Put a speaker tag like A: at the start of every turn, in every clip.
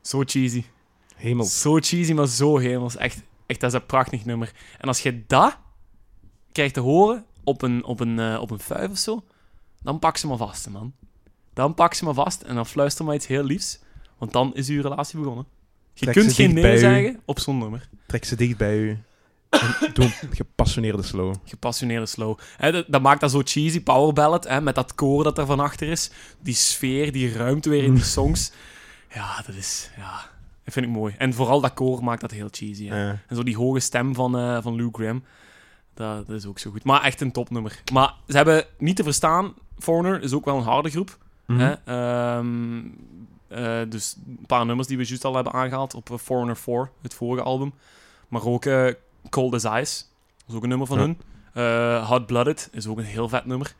A: Zo cheesy.
B: Hemels.
A: Zo cheesy, maar zo hemels. Echt, echt, dat is een prachtig nummer. En als je dat krijgt te horen op een, op een, eh, op een fuif of zo, dan pak ze maar vast, hè, man. Dan pak ze maar vast en dan fluister maar iets heel liefs, want dan is uw relatie begonnen. Je
B: Trek
A: kunt
B: ze
A: geen
B: dicht bij
A: nee
B: u.
A: zeggen op zo'n nummer.
B: Trek ze dicht bij u. En doe een gepassioneerde slow.
A: Gepassioneerde slow. Hè, dat, dat maakt dat zo cheesy, power ballad, hè, met dat koor dat er van achter is. Die sfeer, die ruimte weer
B: Mm.
A: in die songs. Ja, dat is... Ja, dat vind ik mooi. En vooral dat koor maakt dat heel cheesy. Hè.
B: Ja.
A: En zo die hoge stem van, eh, van Lou Graham. Dat, dat is ook zo goed. Maar echt een topnummer. Maar ze hebben niet te verstaan. Foreigner is ook wel een harde groep.
B: Mhm.
A: Hè? Ehm, eh, dus een paar nummers die we juist al hebben aangehaald op eh, Foreigner 4, het vorige album. Maar ook eh, Cold as Ice, dat is ook een nummer van
B: Ja.
A: hun. Eh, Hot Blooded is ook een heel vet nummer.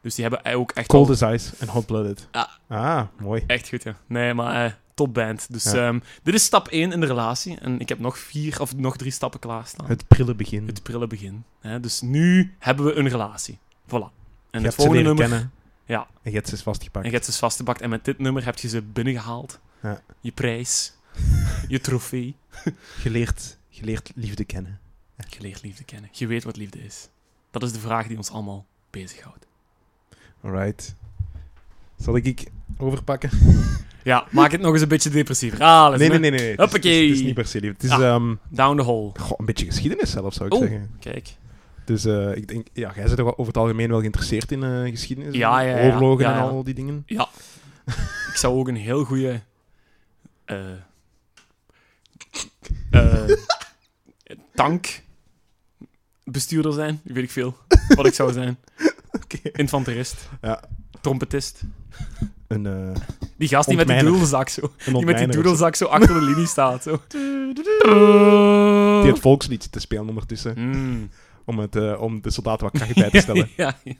A: Dus die hebben eh, ook echt,
B: Cold
A: wel-
B: as Ice en Hot Blooded.
A: Ah.
B: Ah, mooi.
A: echt goed, ja. Nee, maar eh topband. Dus
B: Ja.
A: ehm, dit is stap 1 in de relatie. En ik heb nog vier of nog drie stappen klaarstaan.
B: Het prille begin.
A: het prille begin. Hè? Dus nu hebben we een relatie. Voilà. En
B: je
A: het
B: hebt ze
A: volgende
B: leren
A: nummer.
B: kennen.
A: Ja.
B: En je hebt ze vastgepakt.
A: En je hebt ze vastgepakt. En met dit nummer heb je ze binnengehaald.
B: Ja.
A: Je prijs. je trofee.
B: Geleerd, geleerd liefde kennen.
A: Je leert liefde kennen. Je weet wat liefde is. Dat is de vraag die ons allemaal bezighoudt.
B: Alright. Zal ik ik overpakken?
A: Ja, maak het nog eens een beetje depressiever. Ah,
B: Nee, nee, nee. nee. Het, is, het, is,
A: Hoppakee.
B: het is niet per se lief. Het is
A: Ah.
B: ehm,
A: Down the hole.
B: goh, een beetje geschiedenis zelf, zou ik
A: Oh.
B: zeggen.
A: Kijk.
B: Dus eh, ik denk, ja, jij bent toch wel over het algemeen wel geïnteresseerd in eh, geschiedenis?
A: Ja,
B: en
A: ja, ja.
B: Oorlogen
A: Ja,
B: en
A: ja.
B: al die dingen?
A: Ik zou ook een heel goede. eh eh, tankbestuurder zijn. Weet ik veel. Wat ik zou zijn.
B: Oké.
A: Infanterist.
B: Ja.
A: Trompetist.
B: Een, eh
A: Die gast die met die
B: Ontmijner.
A: doedelzak zo.
B: een
A: Die met die
B: ontmijner of zo.
A: doedelzak zo achter de linie staat. Zo.
B: Die het volkslied zit te spelen ondertussen.
A: Mm.
B: Om, het, eh, om de soldaten wat kracht bij te stellen.
A: ja, ja.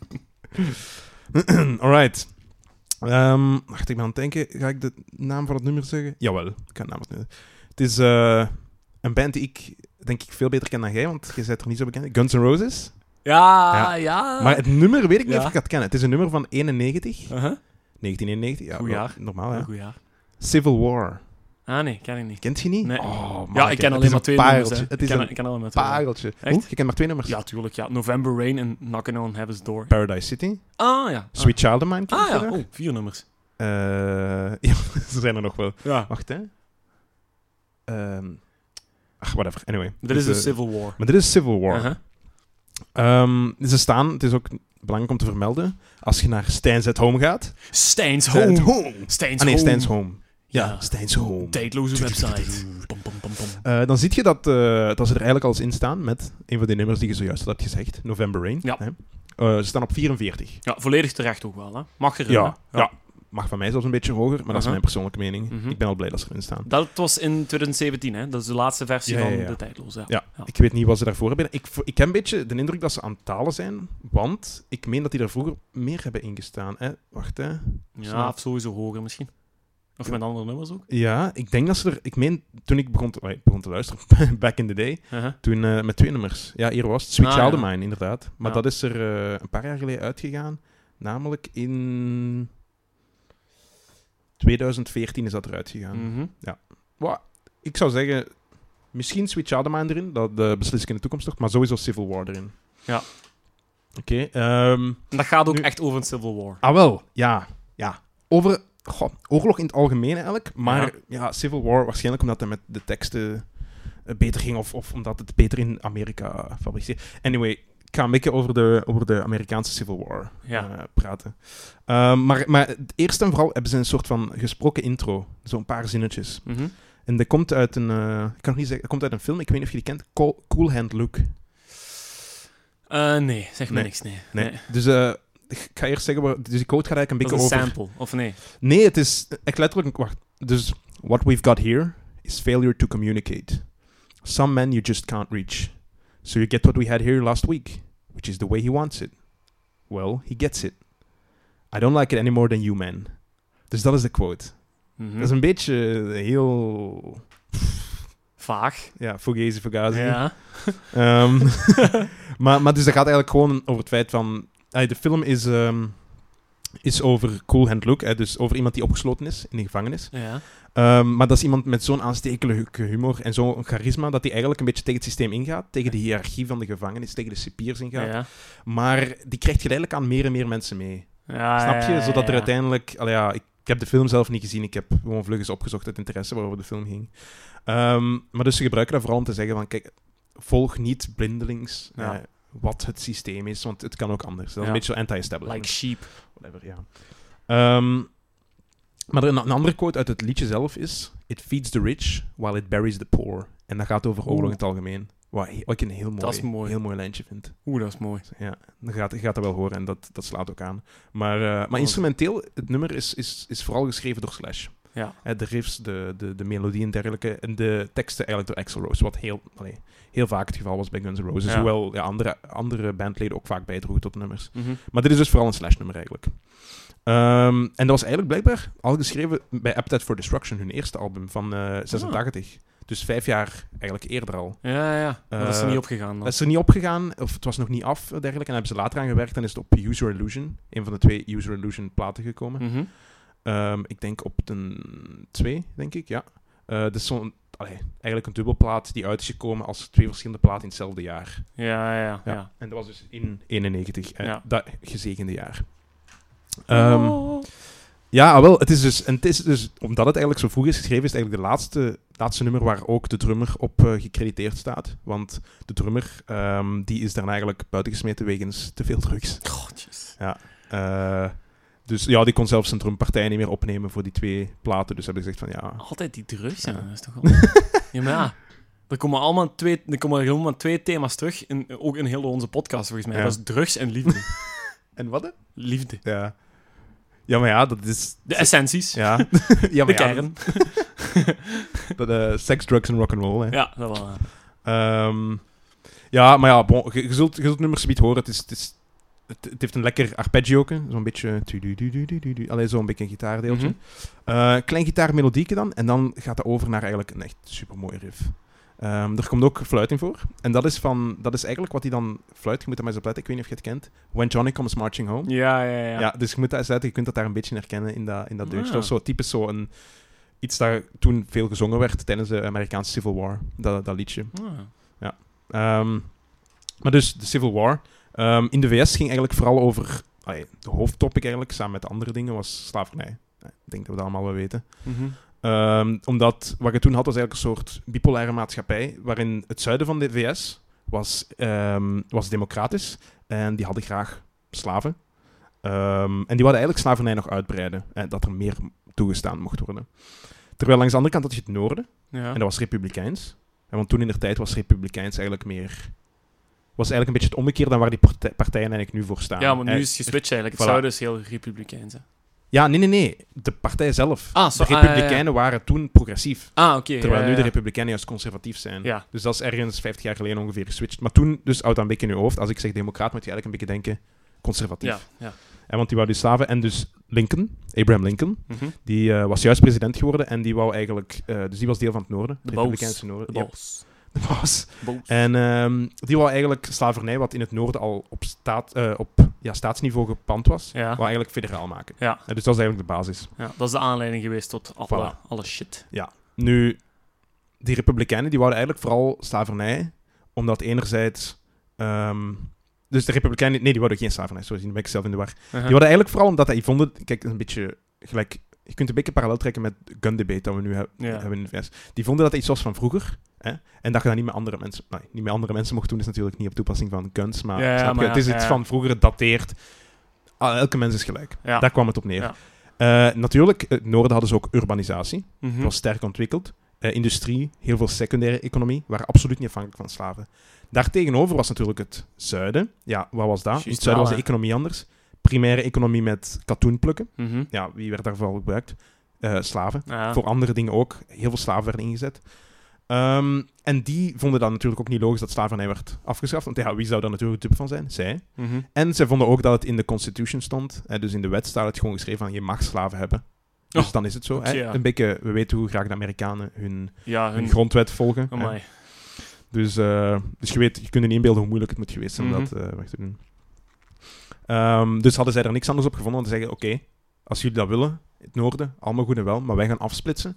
B: Alright. Ehm wacht, ik ben aan het denken. Ga ik de naam van het nummer zeggen? Jawel, ik ga de naam van het nummer Het is eh, een band die ik denk ik veel beter ken dan jij, want jij bent er niet zo bekend. Guns N' Roses. Ja.
A: Ja, ja.
B: Maar het nummer weet ik niet
A: Ja.
B: of ik het ken. Het is een nummer van 91.
A: Uh-huh.
B: 1991, ja.
A: Goed
B: wel,
A: jaar.
B: Normaal,
A: Een
B: ja.
A: goed jaar.
B: Civil War.
A: Ah, nee, ken ik niet.
B: Kent je niet?
A: Nee.
B: Oh, man,
A: ja, ik ken
B: het
A: alleen
B: is
A: maar
B: een
A: twee
B: pareltje.
A: nummers. hè.
B: Het
A: ik
B: is
A: ken,
B: een
A: ik ken alleen maar twee nummers.
B: pareltje.
A: Echt?
B: Oeh, je kent maar twee nummers.
A: Ja, tuurlijk. Ja. November Rain en Knockin' on Heaven's Door.
B: Paradise City,
A: Ah, ja. Ah.
B: Sweet Child of Mine. ken
A: Ah,
B: je
A: ja.
B: daar?
A: Oh, vier nummers.
B: Eh, ja, ze zijn er nog wel.
A: Ja.
B: Wacht, hè. Ehm, ach, whatever. Anyway.
A: Dit is de
B: eh,
A: Civil War.
B: Maar dit is Civil War.
A: Uh-huh.
B: Ehm, ze staan, het is ook belangrijk om te vermelden, als je naar Stijn's at Home gaat.
A: Stijn's
B: Stijn's
A: Home.
B: Home.
A: Stijn's
B: Ah nee,
A: Home.
B: Stijn's Home. Ja, Stijn's Home.
A: Tijdloze website. Pom, pom, pom, pom.
B: Eh, dan zie je dat, eh, dat ze er eigenlijk al eens in staan met een van die nummers die je zojuist had gezegd, November Rain.
A: Ja.
B: hè. Eh, ze staan op 44.
A: Ja, volledig terecht ook wel. Hè. Mag erin.
B: Ja,
A: hè?
B: ja. Mag van mij zelfs een beetje hoger, maar dat is
A: Aha.
B: mijn persoonlijke mening.
A: Mhm.
B: Ik ben al blij dat ze erin staan.
A: Dat was in 2017, hè? Dat is de laatste versie
B: Ja, ja, ja.
A: van de tijdloze. Ja.
B: Ja, Ik weet niet wat ze daarvoor hebben. Ik, v- ik heb een beetje de indruk dat ze aan het talen zijn, want ik meen dat die er vroeger meer hebben ingestaan. Hè? Wacht, hè.
A: Ja, of sowieso hoger misschien. Of met andere nummers ook.
B: Ja, ik denk dat ze er... Ik meen, toen ik begon te, eh, begon te luisteren, back in the day,
A: Uh-huh.
B: toen eh, met twee nummers. Ja, hier was het. Sweet
A: Ah,
B: Child of
A: ja.
B: Mine, inderdaad. Maar
A: Ja.
B: dat is er eh, een paar jaar geleden uitgegaan. Namelijk in... 2014 is dat eruit gegaan.
A: Mhm.
B: Ik zou zeggen, misschien Sweet Child of Mine erin. Dat eh, beslis ik in de toekomst nog. Maar sowieso Civil War erin.
A: Ja.
B: Oké. ehm,
A: En dat gaat ook
B: Nu-
A: echt over een Civil War.
B: ah, wel. Ja. Ja. Over... goh, oorlog in het algemeen eigenlijk. Maar
A: Ja.
B: ja. Civil War waarschijnlijk omdat het met de teksten eh, beter ging. Of, of omdat het beter in Amerika fabriceerde. Anyway, ik ga een beetje over de, over de Amerikaanse Civil War
A: Ja.
B: eh, praten. Ehm, maar, maar het eerst en vooral hebben ze een soort van gesproken intro. Zo'n paar zinnetjes.
A: Mhm.
B: En dat komt uit een... eh, ik kan nog niet zeggen... Dat komt uit een film. Ik weet niet of je die kent. Cool, Cool Hand Luke.
A: Eh, nee, zeg me
B: Nee.
A: niks. Nee.
B: Nee.
A: Nee.
B: Dus... eh, ik ga eerst zeggen, waar- dus die code gaat eigenlijk een
A: Dat is
B: beetje
A: een
B: over...
A: sample, of nee?
B: Nee, het is echt letterlijk. Wacht. Dus what we've got here is failure to communicate. Some men you just can't reach. So you get what we had here last week, which is the way he wants it. Well, he gets it. I don't like it any more than you men. Dus dat is de quote.
A: Mhm.
B: Dat is een beetje eh, heel.
A: Vaag.
B: Ja, Fugazi, Fugazi.
A: Ja.
B: Ehm, maar, maar dus dat gaat eigenlijk gewoon over het feit van... ah, de film is ehm, is over Cool Hand Luke, hè, dus over iemand die opgesloten is in de gevangenis.
A: Ja.
B: Ehm, maar dat is iemand met zo'n aanstekelijke humor en zo'n charisma dat hij eigenlijk een beetje tegen het systeem ingaat, tegen de hiërarchie van de gevangenis, tegen de cipiers
A: Ja.
B: ingaat.
A: ja.
B: Maar die krijgt geleidelijk aan meer en meer mensen mee.
A: Ja,
B: Snap je?
A: ja, ja,
B: Zodat er
A: Ah, ja.
B: uiteindelijk... Allee, ja, ik, ik heb de film zelf niet gezien. Ik heb gewoon vlug eens opgezocht uit interesse waarover de film ging. Ehm, maar dus ze gebruiken dat vooral om te zeggen van... Kijk, volg niet blindelings
A: Ja.
B: eh, wat het systeem is, want het kan ook anders. Dat is
A: Ja.
B: een beetje zo anti-establishment.
A: Like sheep.
B: Whatever, ja. Ehm, maar er- een, een andere quote uit het liedje zelf is... It feeds the rich while it buries the poor. En dat gaat over oorlog in het algemeen. Wat, wat ik een heel mooi,
A: Dat is mooi.
B: heel mooi lijntje vind.
A: Oeh, dat is mooi.
B: Ja, je gaat, je gaat dat wel horen en dat, dat slaat ook aan. Maar, eh, maar
A: Mooi.
B: instrumenteel, het nummer is, is, is vooral geschreven door Slash.
A: Ja.
B: Hè, de riffs, de, de, de melodie en dergelijke. En de teksten eigenlijk door Axl Rose. Wat heel, allee, heel vaak het geval was bij Guns N' Roses.
A: Ja.
B: Hoewel ja, andere, andere bandleden ook vaak bijdroegen tot nummers.
A: Mhm.
B: Maar dit is dus vooral een Slash-nummer eigenlijk. Ehm, en dat was eigenlijk blijkbaar al geschreven bij Appetite for Destruction, hun eerste album van
A: Ah.
B: eh 86. Dus vijf jaar eigenlijk eerder al.
A: Ja, ja, ja. Maar dat is er
B: Eh,
A: niet opgegaan dan.
B: Dat is er niet opgegaan, of het was nog niet af, eh, dergelijke. En daar hebben ze later aan gewerkt en is het op User Illusion, een van de twee User Illusion platen gekomen.
A: Mhm.
B: Ehm, ik denk op de twee, denk ik, ja. Eh dat is zo'n, allee, eigenlijk een dubbelplaat die uit is gekomen als twee verschillende platen in hetzelfde jaar.
A: Ja, ja, ja. ja.
B: En dat was dus in 91, eh,
A: Ja.
B: dat gezegende jaar. Ehm,
A: Oh.
B: Ja, wel, het is dus, en het is dus, omdat het eigenlijk zo vroeg is geschreven, is het eigenlijk de laatste, laatste nummer waar ook de drummer op eh, gecrediteerd staat. Want de drummer, ehm, die is daarna eigenlijk buitengesmeten wegens te veel drugs.
A: Godjes.
B: Eh, dus ja, die kon zelfs zijn drumpartij niet meer opnemen voor die twee platen. Dus hebben ze gezegd van, ja,
A: Altijd die drugs,
B: Ja.
A: ja. dat is toch wel... ja, maar ja. Er komen allemaal twee, er komen helemaal twee thema's terug, in, ook in heel onze podcast volgens mij.
B: Ja.
A: Dat is drugs en liefde.
B: en wat?
A: liefde.
B: Ja. ja, maar ja, dat is...
A: De essenties,
B: Ja,
A: de
B: ja maar ja,
A: kern.
B: dat, eh, seks, drugs en rock'n'roll, hè.
A: Ja, dat wel. ja.
B: Ehm, ja, maar ja, bon, je, je zult, je zult nummers zometeen horen. Het, is, het, is, het, het heeft een lekker arpeggio. Zo'n beetje... eh, tu-du-du-du-du-du-du. Allee, zo'n beetje een gitaardeeltje.
A: Mhm.
B: Eh, klein gitaarmelodieke dan. En dan gaat dat over naar eigenlijk een echt supermooi riff. Ehm, er komt ook fluit in voor. En dat is, van, dat is eigenlijk wat hij dan fluit. Je moet dat maar eens opletten. Ik weet niet of je het kent. When Johnny Comes Marching Home.
A: Ja, ja, ja.
B: Ja. dus je moet dat eens letten. Je kunt dat daar een beetje in herkennen in dat, in dat deuntje.
A: Ah.
B: Dat is zo typisch zo een... Iets dat toen veel gezongen werd tijdens de Amerikaanse Civil War. Dat, dat liedje.
A: Ah.
B: Ehm, maar dus de Civil War. Ehm, in de VS ging eigenlijk vooral over. allee, de hoofdtopic eigenlijk, samen met de andere dingen, was slavernij. Ik denk dat we dat allemaal wel weten.
A: Mhm.
B: Ehm, omdat wat je toen had, was eigenlijk een soort bipolaire maatschappij. Waarin het zuiden van de VS was, ehm, was democratisch. En die hadden graag slaven. Ehm, en die wilden eigenlijk slavernij nog uitbreiden. En dat er meer toegestaan mocht worden. Terwijl langs de andere kant had je het noorden.
A: ja.
B: En dat was republikeins. En want toen in de tijd was republikeins eigenlijk meer... Was eigenlijk een beetje het omgekeerde dan waar die parte- partijen eigenlijk nu voor staan.
A: Ja, maar nu
B: Eh,
A: is het geswitcht eigenlijk. Het
B: Voilà.
A: zou dus heel republikein zijn.
B: Ja, nee, nee, nee. De partij zelf.
A: Ah, zo-
B: de
A: ah, ja, ja.
B: republikeinen waren toen progressief.
A: Ah, oké.
B: Terwijl
A: ja,
B: nu de
A: ja.
B: republikeinen juist conservatief zijn.
A: Ja.
B: Dus dat is ergens 50 jaar geleden ongeveer geswitcht. Maar toen, dus houd dat een beetje in je hoofd. Als ik zeg democraat, moet je eigenlijk een beetje denken conservatief.
A: Ja, ja.
B: En want die wou die slaven. En dus Lincoln, Abraham Lincoln,
A: Mhm.
B: die eh, was juist president geworden. En die wou eigenlijk... eh, dus die was deel van het noorden.
A: De
B: het
A: boos.
B: republikeinse noorden.
A: De
B: Ja,
A: boos.
B: de boos.
A: Boos.
B: En ehm, die wou eigenlijk slavernij, wat in het noorden al op, staat, eh, op ja, staatsniveau gepand was,
A: Ja.
B: wou eigenlijk federaal maken.
A: Ja.
B: En dus dat is eigenlijk de basis.
A: ja, dat is de aanleiding geweest tot alle, alle shit.
B: Nu, die republikeinen die wouden eigenlijk vooral slavernij, omdat enerzijds... ehm, dus de republikeinen... Nee, die wouden geen slavernij, sorry, nu ben ik zelf in de war. Die
A: Uh-huh.
B: wouden eigenlijk vooral omdat eh, die vonden... Kijk, een beetje gelijk... Je kunt een beetje parallel trekken met de gun debate dat we nu hebben.
A: Ja.
B: hebben in de VS. Die vonden dat het iets was van vroeger. Hè? En dat je dat niet met andere mensen, nou, niet met andere mensen mocht doen, is natuurlijk niet op toepassing van guns. Maar,
A: Ja, ja,
B: snap je?
A: maar ja,
B: het is
A: ja,
B: iets
A: ja.
B: van vroeger, het dateert. Ah, elke mens is gelijk.
A: Ja.
B: Daar kwam het op neer.
A: Ja.
B: Eh, natuurlijk, het noorden hadden ze ook urbanisatie.
A: Mhm.
B: Het was sterk ontwikkeld. Eh, industrie, heel veel secundaire economie, waren absoluut niet afhankelijk van slaven. Daartegenover was natuurlijk het zuiden. Ja, wat was dat?
A: Juist
B: In het zuiden
A: wel,
B: was de
A: hè.
B: economie anders. Primaire economie met katoen plukken.
A: Mhm.
B: Ja, wie werd daar vooral gebruikt? Eh, slaven
A: Ja.
B: voor andere dingen ook. Heel veel slaven werden ingezet. Ehm, en die vonden dat natuurlijk ook niet logisch dat slavernij werd afgeschaft. Want ja, wie zou daar natuurlijk dupe van zijn? Zij.
A: Mhm.
B: En zij vonden ook dat het in de Constitution stond. Hè, dus in de wet staat het gewoon geschreven van je mag slaven hebben. Dus
A: Oh,
B: dan is het zo. Hè?
A: oké, ja.
B: Een beetje, we weten hoe graag de Amerikanen hun,
A: Ja,
B: hun
A: hun... Oh
B: grondwet volgen. hè.
A: Amai.
B: Dus, eh, dus je weet, je kunt je niet inbeelden hoe moeilijk het moet geweest zijn om
A: Mhm.
B: dat eh, weg te doen. Ehm, dus hadden zij er niks anders op gevonden dan te zeggen: Oké, als jullie dat willen, het noorden, allemaal goed en wel, maar wij gaan afsplitsen.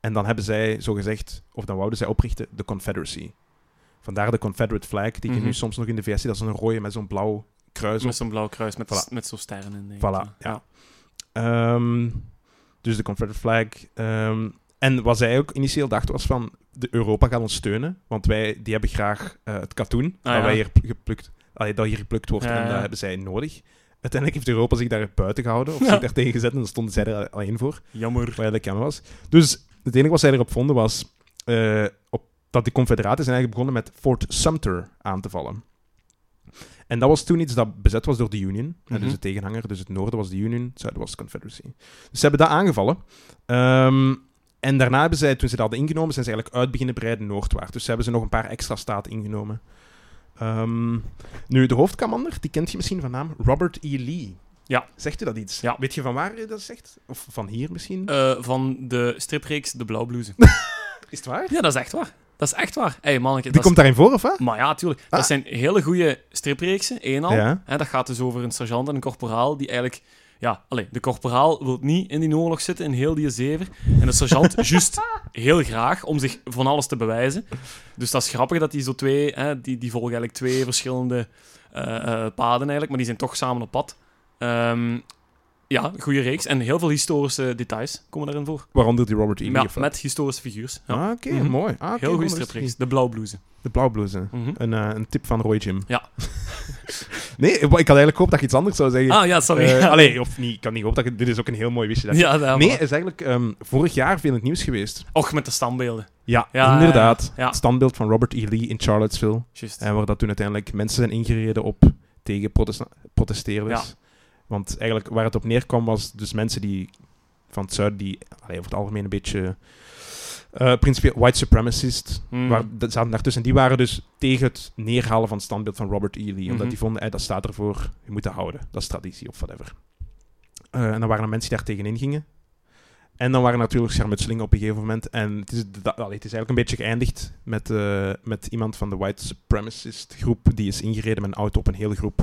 B: En dan hebben zij, zo gezegd, of dan wouden zij oprichten, de Confederacy. Vandaar de Confederate flag, die je
A: Mhm.
B: nu soms nog in de VS ziet, dat is een rode met zo'n blauw kruis op.
A: Met zo'n blauw kruis, met,
B: Voilà.
A: met zo'n sterren in. denk ik.
B: Voilà, ja. Ehm, dus de Confederate flag. ehm, en wat zij ook initieel dacht was van, de Europa gaat ons steunen, want wij die hebben graag eh, het katoen
A: Ah,
B: dat,
A: ja.
B: wij hier p- geplukt, allee, dat hier geplukt wordt
A: Ja,
B: en
A: ja.
B: dat hebben zij nodig. Uiteindelijk heeft Europa zich daar buiten gehouden, of
A: Ja.
B: zich daar tegen gezet, en dan stonden zij er alleen voor,
A: Jammer.
B: waar dat kan was. Dus het enige wat zij erop vonden was eh, op, dat de Confederaten zijn eigenlijk begonnen met Fort Sumter aan te vallen. En dat was toen iets dat bezet was door de Union. hè,
A: Mhm.
B: dus de tegenhanger. Dus het noorden was de Union, het zuiden was de Confederacy. Dus ze hebben dat aangevallen. Ehm, en daarna hebben zij, toen ze dat hadden ingenomen, zijn ze eigenlijk uit beginnen breiden noordwaarts. Dus ze hebben ze nog een paar extra staten ingenomen. Ehm, nu, de hoofdkamander, die kent je misschien van naam, Robert E. Lee.
A: Ja.
B: Zegt u dat iets?
A: Ja.
B: Weet je van waar je dat zegt? Of van hier misschien?
A: Eh, van de stripreeks De Blauwblouse.
B: Is het waar?
A: ja, dat is echt waar. Dat is echt waar. hey, mannetje,
B: Die
A: dat is-
B: komt daarin voor, of wat?
A: Maar ja, tuurlijk.
B: Ah.
A: Dat zijn hele goede stripreeksen, één al.
B: Ja.
A: Hè, dat gaat dus over een sergeant en een korporaal die eigenlijk... Ja, alleen de korporaal wil niet in die oorlog zitten, in heel die zever. En de sergeant juist heel graag, om zich van alles te bewijzen. Dus dat is grappig dat die zo twee... Hè, die, die volgen eigenlijk twee verschillende eh, eh, paden eigenlijk, maar die zijn toch samen op pad. Ehm, ja, goede reeks. En heel veel historische details komen daarin voor.
B: Waaronder die Robert E. Lee.
A: Ja,
B: of wat?
A: met historische figuurs. Ja.
B: Ah, oké,
A: Mhm.
B: mooi. Ah, oké,
A: heel goede
B: wonder is
A: stripreeks. De blauwblouse.
B: die. De blauwblouse.
A: Mhm.
B: Een, eh, een tip van Roy Jim.
A: Ja.
B: nee, ik had eigenlijk gehoopt dat je iets anders zou zeggen.
A: Ah ja, sorry.
B: Eh, allee, of niet, ik kan niet hopen dat je... Dit is ook een heel mooi wistje. dat je-
A: ja, daar,
B: nee, is eigenlijk ehm, vorig jaar veel in het nieuws geweest.
A: Och, met de standbeelden.
B: Ja,
A: Ja,
B: inderdaad.
A: ja, ja.
B: Het standbeeld van Robert E. Lee in Charlottesville.
A: Juist.
B: En waar dat toen uiteindelijk mensen zijn ingereden op tegen protest protesteerders. Want eigenlijk waar het op neerkwam was dus mensen die van het zuiden, die allee, over het algemeen een beetje eh principieel white supremacist
A: Hmm.
B: Waar, dat zaten daartussen. Die waren dus tegen het neerhalen van het standbeeld van Robert E. Lee. Omdat
A: Mhm.
B: die vonden, eh, dat staat ervoor, je moet dat houden. Dat is traditie of whatever. Eh, en dan waren er mensen die daar tegenin gingen. En dan waren er natuurlijk schermutselingen op een gegeven moment. En het is, da- allee, het is eigenlijk een beetje geëindigd met, eh, met iemand van de white supremacist groep. Die is ingereden met een auto op een hele groep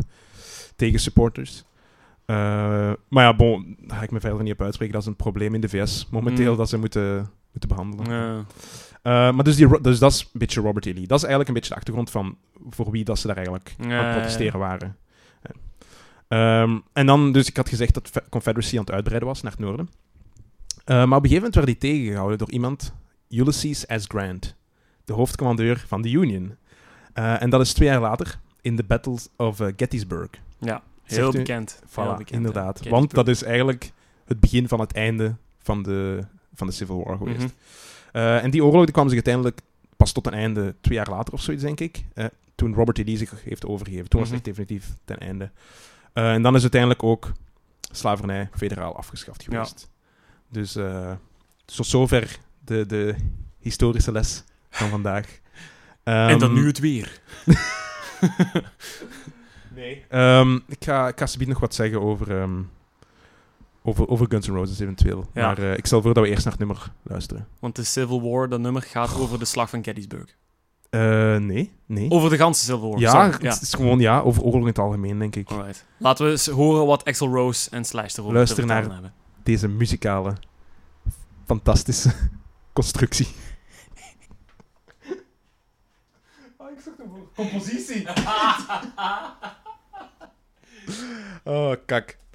B: tegen supporters. Eh, maar ja, bon, daar ga ik me verder niet op uitspreken. Dat is een probleem in de VS momenteel
A: Mm.
B: dat ze moeten, moeten behandelen.
A: Ja.
B: Eh, maar dus, die, Ro- dus dat is een beetje Robert E. Lee. Dat is eigenlijk een beetje de achtergrond van voor wie dat ze daar eigenlijk
A: Ja,
B: aan
A: ja,
B: het
A: ja.
B: protesteren waren. Ja. Ehm, en dan, dus ik had gezegd dat de Confederacy aan het uitbreiden was naar het noorden. Eh, maar op een gegeven moment werd die tegengehouden door iemand, Ulysses S. Grant, de hoofdcommandeur van de Union. Eh, en dat is twee jaar later in de Battle of eh, Gettysburg.
A: Ja, heel
B: Zegt u-
A: bekend.
B: Voilà,
A: heel bekend,
B: inderdaad.
A: ja.
B: Want dat is eigenlijk het begin van het einde van de, van de Civil War geweest.
A: Mhm.
B: Eh, en die oorlog die kwam zich uiteindelijk pas tot een einde, twee jaar later of zoiets, denk ik. eh, toen Robert E. Lee zich heeft overgegeven. Toen was het
A: Mhm.
B: echt definitief ten einde. Eh, en dan is uiteindelijk ook slavernij federaal afgeschaft
A: Ja.
B: geweest. Dus eh, tot zover de, de historische les van vandaag.
A: En dan
B: Ehm,
A: nu het weer.
B: Nee. Ehm, ik ga, ik ga subiet nog wat zeggen over, ehm, over, over Guns N' Roses eventueel.
A: Ja.
B: Maar eh, ik stel voor dat we eerst naar het nummer luisteren.
A: Want de Civil War, dat nummer, gaat over de slag van Gettysburg.
B: Eh, nee, nee.
A: Over de ganse Civil War.
B: ja,
A: sorry.
B: het
A: ja.
B: is gewoon ja, over oorlog in het algemeen, denk ik.
A: Alright. Laten we eens horen wat Axel Rose en Slash erover
B: Luister
A: te vertellen
B: naar-
A: hebben.
B: Deze muzikale, fantastische constructie. ik zocht hem voor compositie. oh, kak.